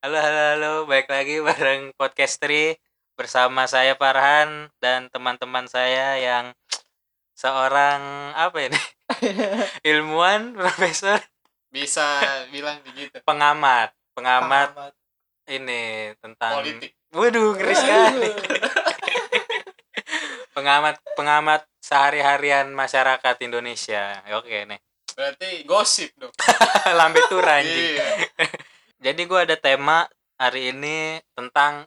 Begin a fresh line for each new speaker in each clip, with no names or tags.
Halo, halo, halo. Baik lagi bareng Podcastri bersama saya Farhan dan teman-teman saya yang seorang apa ini? Ilmuwan, profesor,
Bisa bilang begitu.
pengamat, pengamat ini tentang
politik. Iya.
Waduh, ngeri sekali. pengamat pengamat sehari-harian masyarakat Indonesia. Oke nih.
Berarti gosip dong.
Lambe tur anjing.
Iya.
Jadi gue ada tema hari ini tentang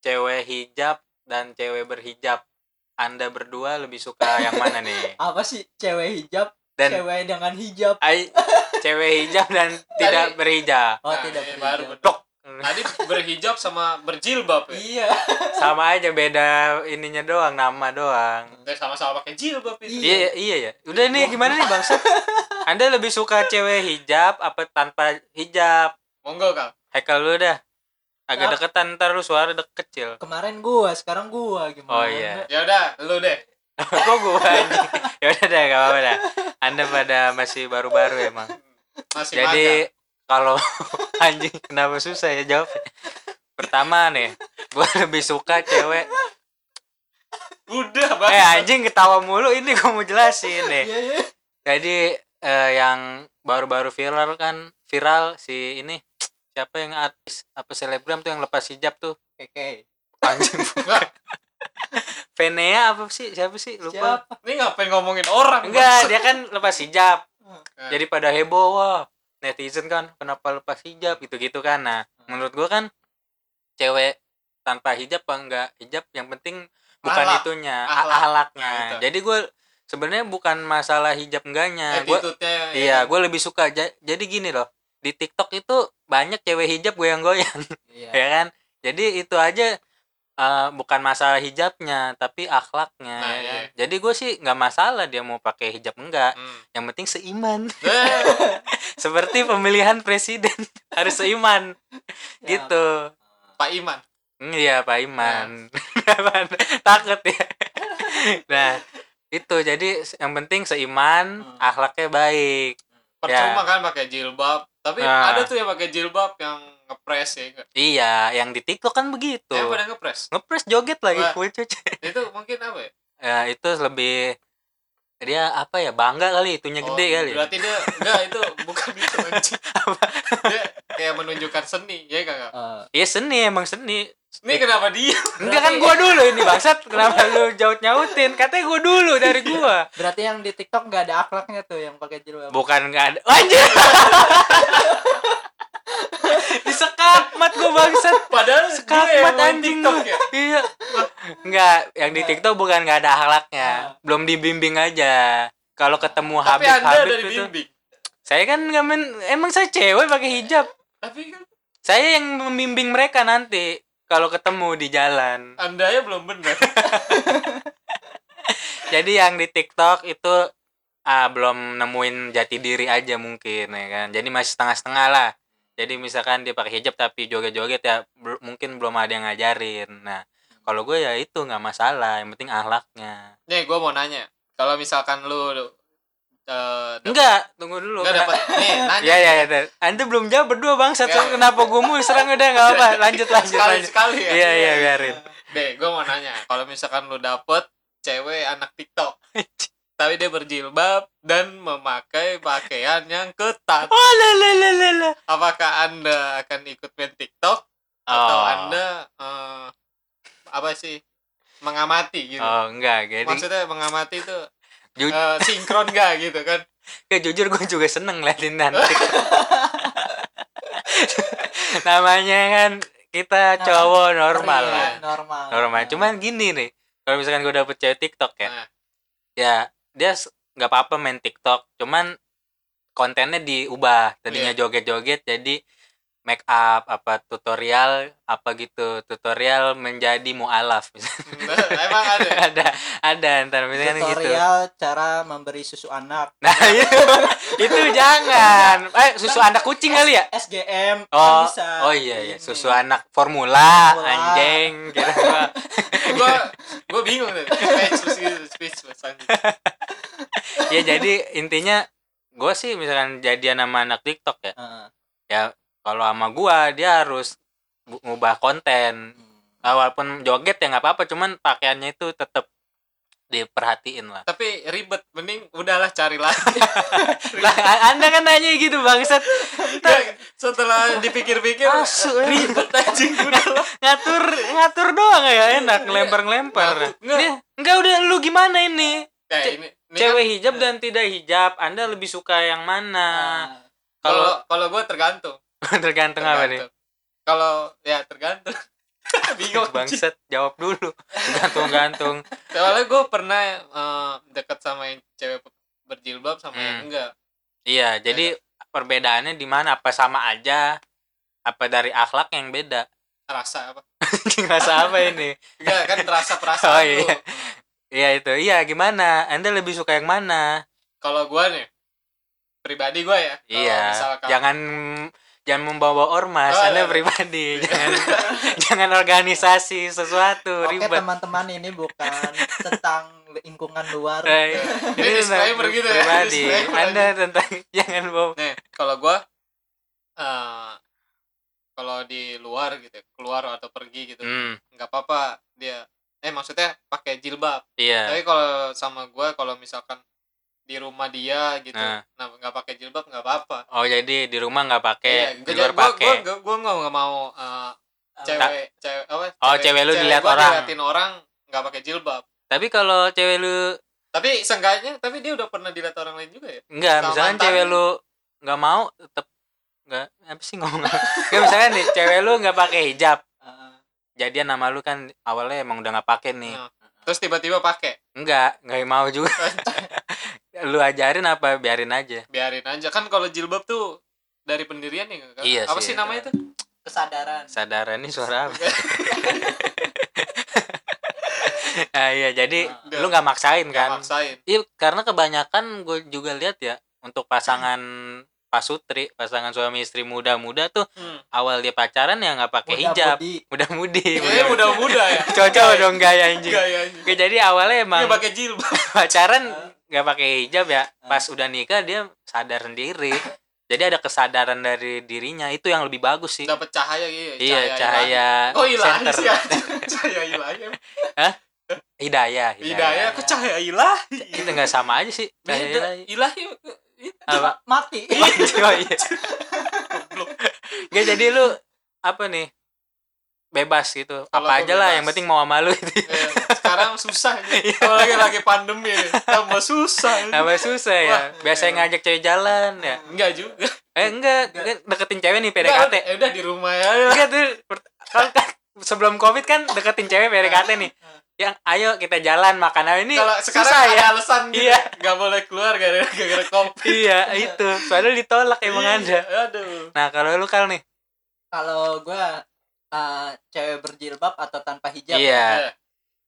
cewek hijab dan cewek berhijab. Anda berdua lebih suka yang mana nih?
apa sih cewek hijab
Dan
cewek dengan hijab
ai- cewek hijab dan tidak berhijab.
oh
Nah,
tidak
ini
berhijab
baru bener. Tadi berhijab sama berjilbab ya.
iya
Sama aja beda ininya doang, nama doang.
Dan Eh, sama-sama pakai jilbab itu.
Iya, iya ya. Udah nih gimana nih bangsa? Anda lebih suka cewek hijab apa tanpa hijab?
Monggo kal.
Haikal lu dah. Agak
Kenapa?
deketan ntar lu suara dek kecil.
kemarin gua sekarang gua
Oh,
gimana
iya.
Ya udah, lu deh.
Kok gua anjing? Ya udah deh, gak apa-apa dah. Anda pada masih baru-baru emang.
Masih
Jadi kalau anjing kenapa susah ya jawab? Pertama nih, gua lebih suka cewek.
magang. udah bang.
Eh anjing ketawa mulu ini gua mau jelasin nih.
iya iya
Jadi eh, yang baru-baru viral kan viral si ini siapa yang artis apa selebgram tuh yang lepas hijab tuh
oke
anjing Venea apa sih siapa sih lupa
siap
Ini ngapain ngomongin orang?
enggak dia kan lepas hijab
Bang?
jadi pada heboh wah netizen kan kenapa lepas hijab gitu gitu kan nah
Hmm.
menurut gua kan cewek tanpa hijab apa enggak hijab yang penting bukan
Ahlak.
itunya a-
Ahlak.
ahlaknya
Nah, itu.
jadi gua sebenarnya bukan masalah hijab enggaknya Nah, gua
attitude-nya. ya.
iya gua lebih suka Ja- jadi gini loh di TikTok itu banyak cewek hijab goyang-goyang
iya
ya kan jadi itu aja eh, bukan masalah hijabnya tapi akhlaknya
Nah,
ya
iya.
kan? jadi gue sih nggak masalah dia mau pakai hijab enggak
Hmm.
yang penting seiman
Eh,
seperti pemilihan presiden harus seiman
Ya.
gitu
Pak Iman.
Hmm, iya Pak Iman
Nah.
Apaan? takut ya nah itu jadi se- yang penting seiman
Hmm.
akhlaknya baik
Percuma kan pakai jilbab. Tapi
Ya. Nah.
ada tuh yang pakai jilbab yang ngepres ya. enggak?
iya yang di TikTok kan begitu
Saya pada ngepres.
ngepres joget lagi
Ya, Wah.
kucu
Itu mungkin apa ya?
ya itu lebih dia apa ya bangga kali itunya
Oh,
gede kali ya.
Berarti dia enggak itu bukan itu anjing. Dia kayak menunjukkan seni, ya enggak?
Eh,
iya seni emang seni
Ini kenapa dia?
enggak kan gua dulu ini bangsat kenapa lu jaut nyautin katanya gua dulu dari gua
berarti yang di TikTok nggak ada akhlaknya tuh yang pakai jilbab
bukan nggak ada anjir disekap mat gua bangsat
Padahal
Sekap
dia yang
mat
main
anjing
TikTok
lu.
ya.
iya enggak yang di TikTok bukan nggak ada halaknya
Ah.
belum dibimbing aja kalau ketemu
Tapi
Habib
Anda
Habib
dari
itu
bimbing.
saya kan nggak men emang saya cewek pakai hijab
Tapi kan
saya yang membimbing mereka nanti kalau ketemu di jalan
Anda ya belum benar.
jadi yang di TikTok itu ah, belum nemuin jati diri aja mungkin ya kan jadi masih setengah-setengah lah jadi misalkan dia pakai hijab tapi joget-joget ya bel- mungkin belum ada yang ngajarin nah kalau gue ya itu nggak masalah yang penting ahlaknya
Nih, gua mau nanya. Kalau misalkan lu lu, eh dap-
enggak tunggu dulu
enggak dapat nih, nanya.
ya ya ya Dan. anda belum jawab berdua bang satu
Ya.
kenapa gue mulu serang udah nggak apa lanjut lanjut
sekali
lanjut
sekali ya.
iya iya biarin
Nih, gua mau nanya. Kalau misalkan lu dapet cewek anak TikTok tapi dia berjilbab dan memakai pakaian yang ketat.
oh la la la la la
Apakah Anda akan ikut main TikTok atau
Oh.
anda eh, apa sih mengamati gitu
oh enggak jadi
maksudnya mengamati itu
Ju-
eh, sinkron gak gitu kan
Ya jujur gue juga seneng ngeliatin nanti. Namanya kan kita
Nah,
cowok normal
Iya,
lah.
ya.
normal
Normal. Cuman gini nih, kalau misalkan gue dapet cewek TikTok ya,
Nah.
ya dia s- nggak apa-apa main TikTok. Cuman kontennya diubah. Tadinya
Iya.
joget-joget jadi make up apa tutorial apa gitu tutorial menjadi mualaf
emang ada
ada ada ntar misalkan gitu
tutorial cara memberi susu anak
Nah itu, itu jangan. Eh susu anak kucing kali ya?
SGM kan
Oh,
bisa
oh iya, iya.
Ini.
susu anak formula,
Formula.
anjing. Kira gua.
gue gue bingung deh speechless gitu speechless anjing.
ya jadi intinya gue sih misalkan jadian sama anak TikTok ya,
Heeh.
ya kalau sama gua dia harus bu- ngubah konten Ah, walaupun joget ya nggak apa-apa cuman pakaiannya itu tetap diperhatiin lah
tapi ribet mending udahlah cari lagi
lah a- anda kan nanya gitu bangsat
Ntar setelah dipikir-pikir
Asu, eh.
ribet anjing udahlah
ngatur ngatur doang ya enak ngelempar ngelempar
Ngatur, nggak.
Ini- nggak udah lu gimana ini
nah,
Ce-
ini, ini kan
cewek hijab dan tidak hijab anda lebih suka yang
Ah,
mana
Nah,
kalau
kalau
kalau gue tergantung
tergantung apa nih
tergantung kalau ya tergantung bingung anjing.
bangsat jawab dulu gantung gantung
soalnya gue pernah eh, dekat sama yang cewek berjilbab sama yang
Hmm.
enggak
iya jadi perbedaannya di mana apa sama aja apa dari akhlak yang beda
rasa apa
ngerasa apa ini
enggak kan rasa perasaan
Oh, iya.
lu.
Iya itu, iya gimana? Anda lebih suka yang mana?
kalau gue nih pribadi gue ya kalau
iya,
misalkan
jangan jangan membawa ormas,
Oh,
Anda
iya.
pribadi, jangan jangan organisasi sesuatu
Oke
ribet.
teman-teman ini bukan tentang lingkungan luar.
Eh,
Ini
ini tentang
disclaimer gitu ya,
pribadi.
disclaimer
Anda tentang jangan bawa.
nih kalau gue eh kalau di luar gitu ya, keluar atau pergi gitu
Hmm,
nggak apa-apa dia eh maksudnya pakai jilbab
iya.
tapi kalau sama gue kalau misalkan di rumah dia gitu
Nah.
nah nggak pakai jilbab nggak apa-apa
Oh jadi di rumah nggak pakai,
Iya,
di luar
gua- gua-
pakai.
gua- gua nggak nggak mau eh, cewek cewek apa
Oh, cewek lu dilihat
gua
orang.
diliatin orang nggak pakai jilbab
Tapi kalau cewek lu
tapi seenggaknya tapi dia udah pernah dilihat orang lain juga ya
enggak,
Sama
misalkan
mantan.
cewek lu nggak mau tetap nggak apa sih ngomong. Enggak misalkan nih cewek lu nggak pakai hijab,
Heeh.
jadian nama lu kan awalnya emang udah nggak pakai nih
Nah, terus tiba-tiba pakai
enggak enggak mau juga lu ajarin apa biarin aja
biarin aja kan kalau jilbab tuh dari pendirian ya nggak-
Iya
apa
sih.
sih namanya tuh
kesadaran.
sadar ini suara apa Ah, iya jadi
Nah,
lu nggak maksain
nggak
kan
maksain
iya karena kebanyakan gue juga lihat ya untuk pasangan pasutri pasangan suami istri muda-muda tuh
hmm.
awal dia pacaran ya nggak pakai hijab
Muda-mudi.
mudah mudi
Kayaknya muda-muda ya
cocok dong gaya Iya, anjing
gayanya
Oke, jadi awalnya emang
dia pakai jilbab
Eh.
pacaran nggak pakai hijab ya
Hmm.
pas udah nikah dia sadar sendiri jadi ada kesadaran dari dirinya itu yang lebih bagus sih
dapat cahaya gitu ya,
iya
ilahi.
cahaya
oh ilahi
center. Iya,
sih anjing. cahaya ilahi
hidayah
hidayah
iya.
kok cahaya ilahi
itu nggak sama aja sih
beda
Hidayah.
ilahi
apa
Mati.
oh, iya. nggak jadi lu apa nih bebas gitu
Kalau
apa
gua
aja lah yang
bebas.
penting mau sama lu gitu. itu
Eh, sekarang susah nih kalau lagi lagi pandemi nih, tambah susah
apa susah ya
Wah. iya.
biasanya ngajak cewek jalan ya
enggak juga
eh enggak kan deketin cewek nih
Enggak,
PDKT
eh, udah di rumah ya
Enggak tuh per- kan, kan sebelum covid kan deketin cewek PDKT nih. Yang ayo kita jalan makan apa ini
Iya. kalau sekarang
susah
ada
ya.
alasan gitu
Iya.
nggak boleh keluar gara-gara gara covid
Iya itu soalnya ditolak emang
Iya,
anda.
aduh
Nah kalau lu kal nih.
Kalau gua eh, cewek berjilbab atau tanpa hijab.
iya.
Iya.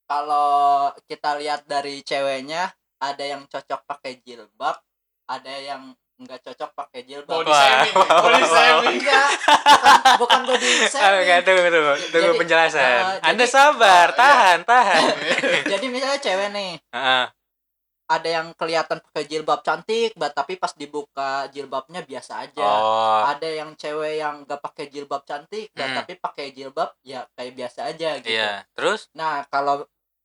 Kalau kita lihat dari ceweknya, ada yang cocok pakai jilbab, ada yang nggak cocok pakai jilbab.
body
Wah,
shaming ya.
wah,
body
wah,
shaming
Enggak, bukan, bukan body
Ah, enggak,
shaming.
tunggu tunggu tunggu
Jadi,
penjelasan.
eh,
anda
jadi-
sabar,
Oh, iya.
tahan tahan.
Jadi misalnya cewek nih,
Heeh.
ada yang kelihatan pakai jilbab cantik, ba- tapi pas dibuka jilbabnya biasa aja.
Oh.
Ada yang cewek yang nggak pakai jilbab cantik, ba-
Hmm.
tapi pakai jilbab ya kayak biasa aja gitu.
Iya. Terus?
Nah kalau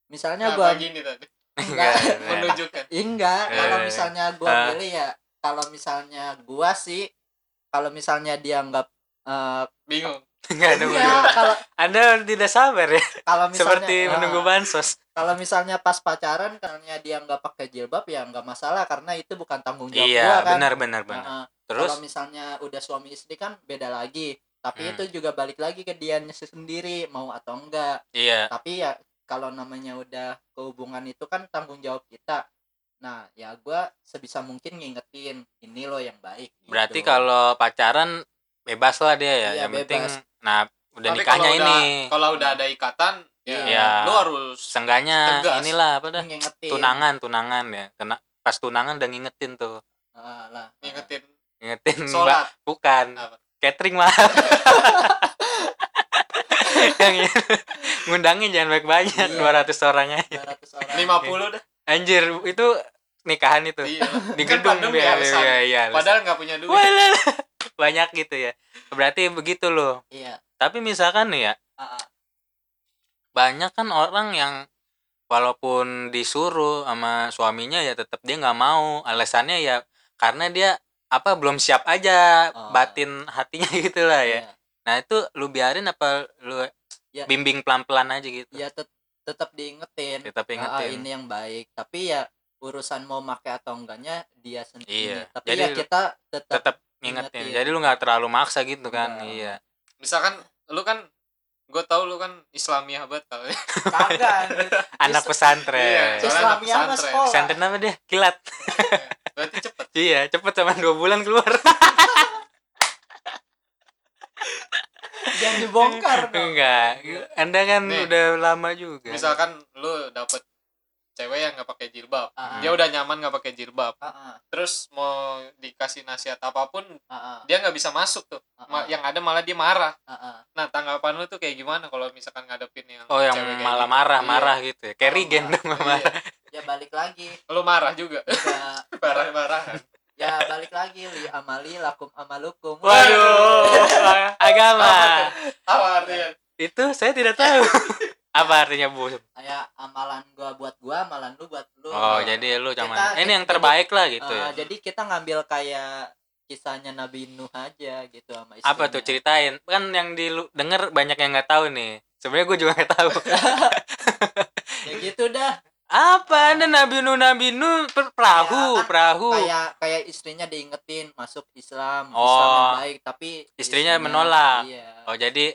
misalnya
nah,
gua
gini tadi
Enggak.
enggak,
enggak.
menunjukkan
Ih, enggak
gitu? Eh.
kalau misalnya gua
Ah.
pilih ya kalau misalnya gua sih kalau misalnya dia nggak eh,
bingung
Enggak tunggu.
enggak,
dulu.
kalau
Anda tidak sabar ya.
kalau Iya. misalnya
Seperti
ah,
menunggu bansos.
kalau misalnya pas pacaran karena dia nggak pakai jilbab ya nggak masalah karena itu bukan tanggung jawab gua
Iya
kan
benar benar benar.
Nah, eh, kalau
Terus?
misalnya udah suami istri kan beda lagi tapi
Hmm.
itu juga balik lagi ke dianya sendiri mau atau enggak
Iya.
tapi ya kalau namanya udah kehubungan itu kan tanggung jawab kita nah ya gua sebisa mungkin ngingetin ini loh yang baik gitu.
Berarti kalau pacaran bebas lah dia ya.
Iya,
yang penting
bebas.
nah udah
Tapi
nikahnya
kalau
ini.
udah, kalau udah ada ikatan ya,
Iya.
lu harus
Sengganya
Tegas.
inilah apa dah?
ngingetin
Tunangan, tunangan ya. Kena pas tunangan udah ngingetin tuh.
Ah, lah
ngingetin
Ngingetin Mbak
sholat
bukan.
Apa?
Catering mah. Yang ini. ngundangin jangan banyak-banyak
Iya.
200 orang ya. aja.
200 orang
50 dah
Anjir, itu nikahan itu.
iya
Di
Kan
gedung
pandemi
ya.
alasan.
Iya, iya. alasan.
padahal nggak punya duit
Walah. Banyak gitu ya. Berarti begitu loh.
iya
tapi misalkan nih ya
Ah, ah.
banyak kan orang yang walaupun disuruh sama suaminya ya tetap dia nggak mau alasannya ya karena dia apa belum siap aja
Oh.
batin hatinya gitu lah ya
Iya.
nah itu lu biarin apa lu
Ya.
bimbing pelan pelan aja gitu
ya tet- tetap diingetin
tetap
Ah, ah,
ingetin
ini yang baik tapi ya urusan mau pakai atau enggaknya dia sendiri
Iya.
tapi
Jadi
ya kita tetap
tetap ngingetin
ingetin.
jadi lu nggak terlalu maksa gitu kan
Nggak.
iya
misalkan lu kan gue tau lu kan Islamiah banget kalau
kagak anjir.
anak
Is-
pesantren
Iya, soalnya-
Islamia sama
pesantren.
sekolah
pesantren apa dia kilat
berarti cepet
iya cepet cuma dua bulan keluar
jangan dibongkar dong
enggak anda kan
Nih.
udah lama juga
misalkan lu dapet cewek yang nggak pakai jilbab
Ah,
dia udah nyaman nggak pakai jilbab
ah, ah,
terus mau dikasih nasihat apapun
ah, ah,
dia nggak bisa masuk tuh
ah,
Ma-
ah,
yang ada malah dia marah
ah, ah.
nah tanggapan lu tuh kayak gimana kalau misalkan ngadepin yang
Oh yang
cewek kayak
malah
gitu?
marah
Iya.
marah gitu ya. Kayak
Malah
Regen dong
Iya.
marah.
ya balik lagi
lu marah juga
ya,
marah marahan
ya balik lagi li amali lakum amalukum
Waduh, agama.
apa artinya
Itu saya tidak tahu. Apa artinya Bu?
ya amalan gua buat gua amalan lu buat lu
Oh,
Iya.
jadi lu cuman
Kita-
ini yang
jadi-
terbaik lah gitu
Ah,
ya.
jadi kita ngambil kayak kisahnya Nabi Nuh aja gitu sama istrinya.
Apa tuh ceritain? Kan yang di lu- denger banyak yang nggak tahu nih. Sebenarnya gue juga nggak tahu.
ya gitu dah
Apa Anda Nabi Nuh Nabi Nuh per- perahu,
Ya, kan
perahu.
kayak kayak istrinya diingetin masuk Islam
Oh.
Islam yang baik tapi
Istrinya menolak.
iya
Oh, jadi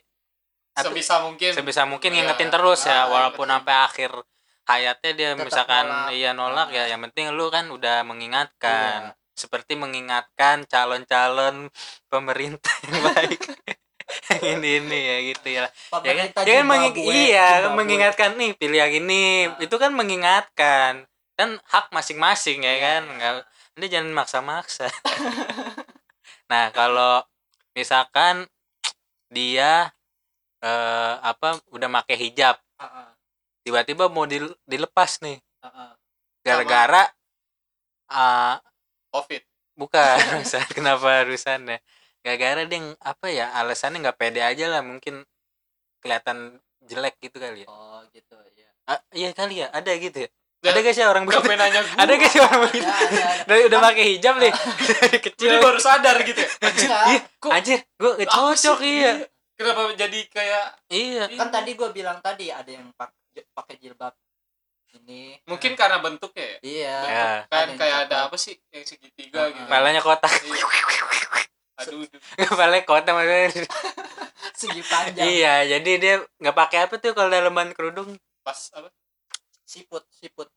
Atau-
sebisa mungkin
sebisa mungkin
Iya.
ngingetin terus ya
Ah,
walaupun
betul.
sampai akhir hayatnya dia
Tetap
misalkan
nolak.
iya nolak ya yang penting lu kan udah mengingatkan
Iya.
seperti mengingatkan calon-calon pemerintah yang baik yang ini ini ya gitu ya jangan
Pemerintah
jangan
Zimbabwe-
mengi- iya
Zimbabwe.
mengingatkan nih pilih yang ini
Ah.
itu kan mengingatkan kan hak masing-masing ya
Iya.
kan nggak anda jangan maksa-maksa nah kalau misalkan dia eh, apa udah pakai hijab
Ah, ah,
tiba-tiba mau dil- dilepas nih
ah, ah.
gara-gara eh,
covid
bukan Rusan. kenapa harusannya gara-gara dia ng- apa ya alasannya nggak pede aja lah mungkin kelihatan jelek gitu kali ya
oh gitu ya
Ah, iya kali ya ada gitu ya
Ya,
ada gak sih orang
Gak
begitu
pengen nanya gue
ada gak sih orang begitu
ada ada, ada.
dari udah pakai hijab nih dari
jadi
kecil
baru sadar gitu ya
Iya.
Enggak,
kok-
anjir gue gak
Apa sih?
cocok iya
kenapa jadi kayak
iya
kan tadi gue bilang tadi ada yang pak- j- pakai jilbab ini
mungkin karena bentuknya ya
iya
Ya.
kan
Ada yang
kayak ada
coklat.
apa sih yang segitiga
Ah,
gitu
kepalanya kotak
Iya. aduh aduh.
kepalanya kotak maksudnya
segi panjang
iya jadi dia nggak pakai apa tuh kalau dalam ban kerudung
pas apa
siput siput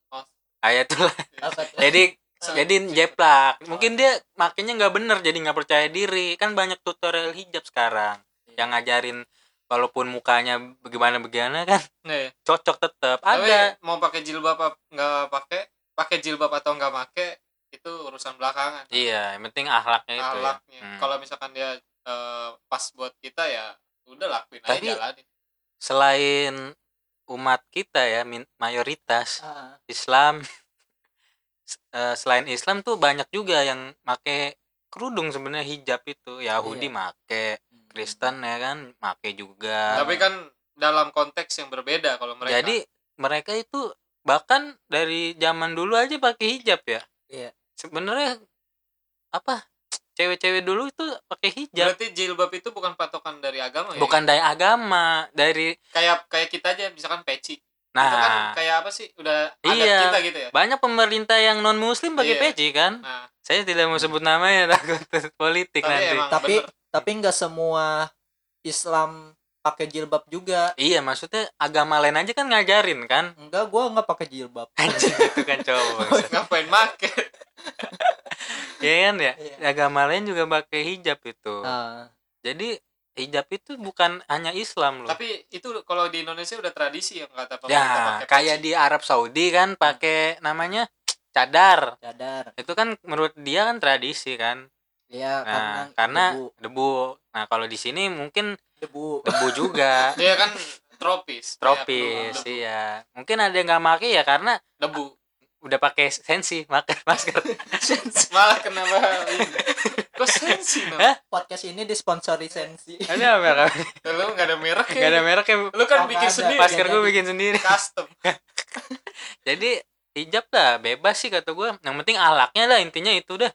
ayatullah
Iya.
apa tuh?
Ah, ya jadi
Sel-
jadi jeplak mungkin dia makinnya nggak bener jadi nggak percaya diri kan banyak tutorial hijab sekarang yang ngajarin walaupun mukanya bagaimana bagaimana kan
Iya, iya.
cocok tetap
Tapi
ada
mau pakai jilbab apa nggak pakai pakai jilbab atau nggak pakai itu urusan belakangan
iya yang penting ahlaknya itu ya.
alaknya
Hmm.
kalau misalkan dia eh, pas buat kita ya udah lakuin
Tapi-
aja jalanin
selain umat kita ya min- mayoritas
Ah,
Islam s- eh, selain Islam tuh banyak juga yang make kerudung sebenarnya hijab itu Yahudi
Iya.
make
hmm.
Kristen ya kan make juga
tapi kan dalam konteks yang berbeda kalau mereka
Ah. Jadi mereka itu bahkan dari zaman dulu aja pakai hijab ya.
Iya.
Sebenarnya apa cewek-cewek dulu itu pakai hijab,
berarti jilbab itu bukan patokan dari agama ya
bukan dari agama, dari
kayak kayak kita aja misalkan peci itu
nah
kan kayak apa sih udah adat
Iya.
kita gitu ya
banyak pemerintah yang non muslim pakai
Iya.
peci kan.
nah
Saya tidak mau sebut namanya takut politik
tapi
nanti.
emang
Tapi-
bener.
tapi nggak semua Islam pakai jilbab juga
Iya, maksudnya agama lain aja kan ngajarin kan.
enggak gua nggak pakai jilbab
Anjing itu kan coba. bangsa.
ngapain make
Iya kan ya?
Iya.
Agama lain juga pakai hijab itu.
Ah,
Jadi hijab itu bukan hanya Islam loh.
tapi itu kalau di Indonesia udah tradisi yang kata pemerintah
Ya,
pakai
kayak
peci.
di Arab Saudi kan pakai namanya cadar.
cadar
Itu kan menurut dia kan tradisi kan. Nah,
ya karena
karena,
debu,
debu. Nah, kalau di sini mungkin
debu.
debu juga
Iya kan tropis.
tropis,
Kayak
iya. Mungkin ada yang nggak pakai ya karena
Debu.
udah pakai sensi maka masker
malah kenapa ini? kok sensi no?
Hah?
podcast ini disponsori sensi
ada merah
lu nggak ada merek
nggak ada
ya
mereknya
lu kan
Apa
bikin
ada?
sendiri
masker gue bikin sendiri
custom
jadi hijab lah bebas sih kata gue yang penting alaknya lah intinya itu dah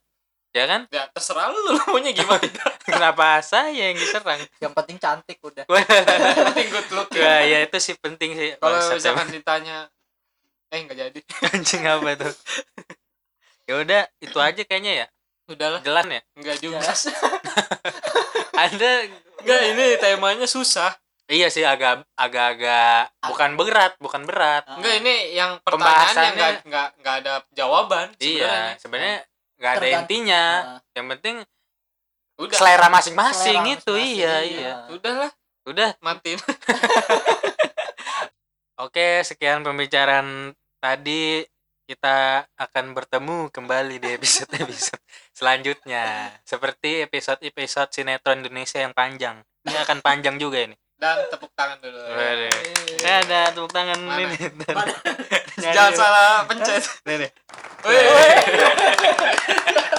ya kan
ya terserah lu lu maunya gimana
kenapa saya yang diserang
yang penting cantik udah
Yang penting good look
ya, ya
ya
itu sih penting sih
kalau
Bangsat, emang.
misalkan ditanya eh nggak jadi
anjing apa tuh ya udah itu aja kayaknya ya
udahlah
jelas ya
nggak juga
Jelas.
anda
nggak ini temanya susah
iya sih agak agak agak bukan berat bukan berat
nggak ini yang pertanyaan yang nggak
Pembahasannya-
nggak nggak ada jawaban sebenarnya.
iya sebenarnya nggak ada
Tergantung.
intinya
Nah,
yang penting
udah
selera masing-masing
selera
itu
masing-masing,
iya iya
udahlah
udah
matiin
oke sekian pembicaraan tadi kita akan bertemu kembali di episode episode selanjutnya seperti episode episode sinetron Indonesia yang panjang ini akan panjang juga ini
dan tepuk tangan dulu ya.
Waduh. Ya,
Yeay.
ada tepuk tangan
Mana?
ini.
Jangan salah pencet.
Nih, nih.
Wih.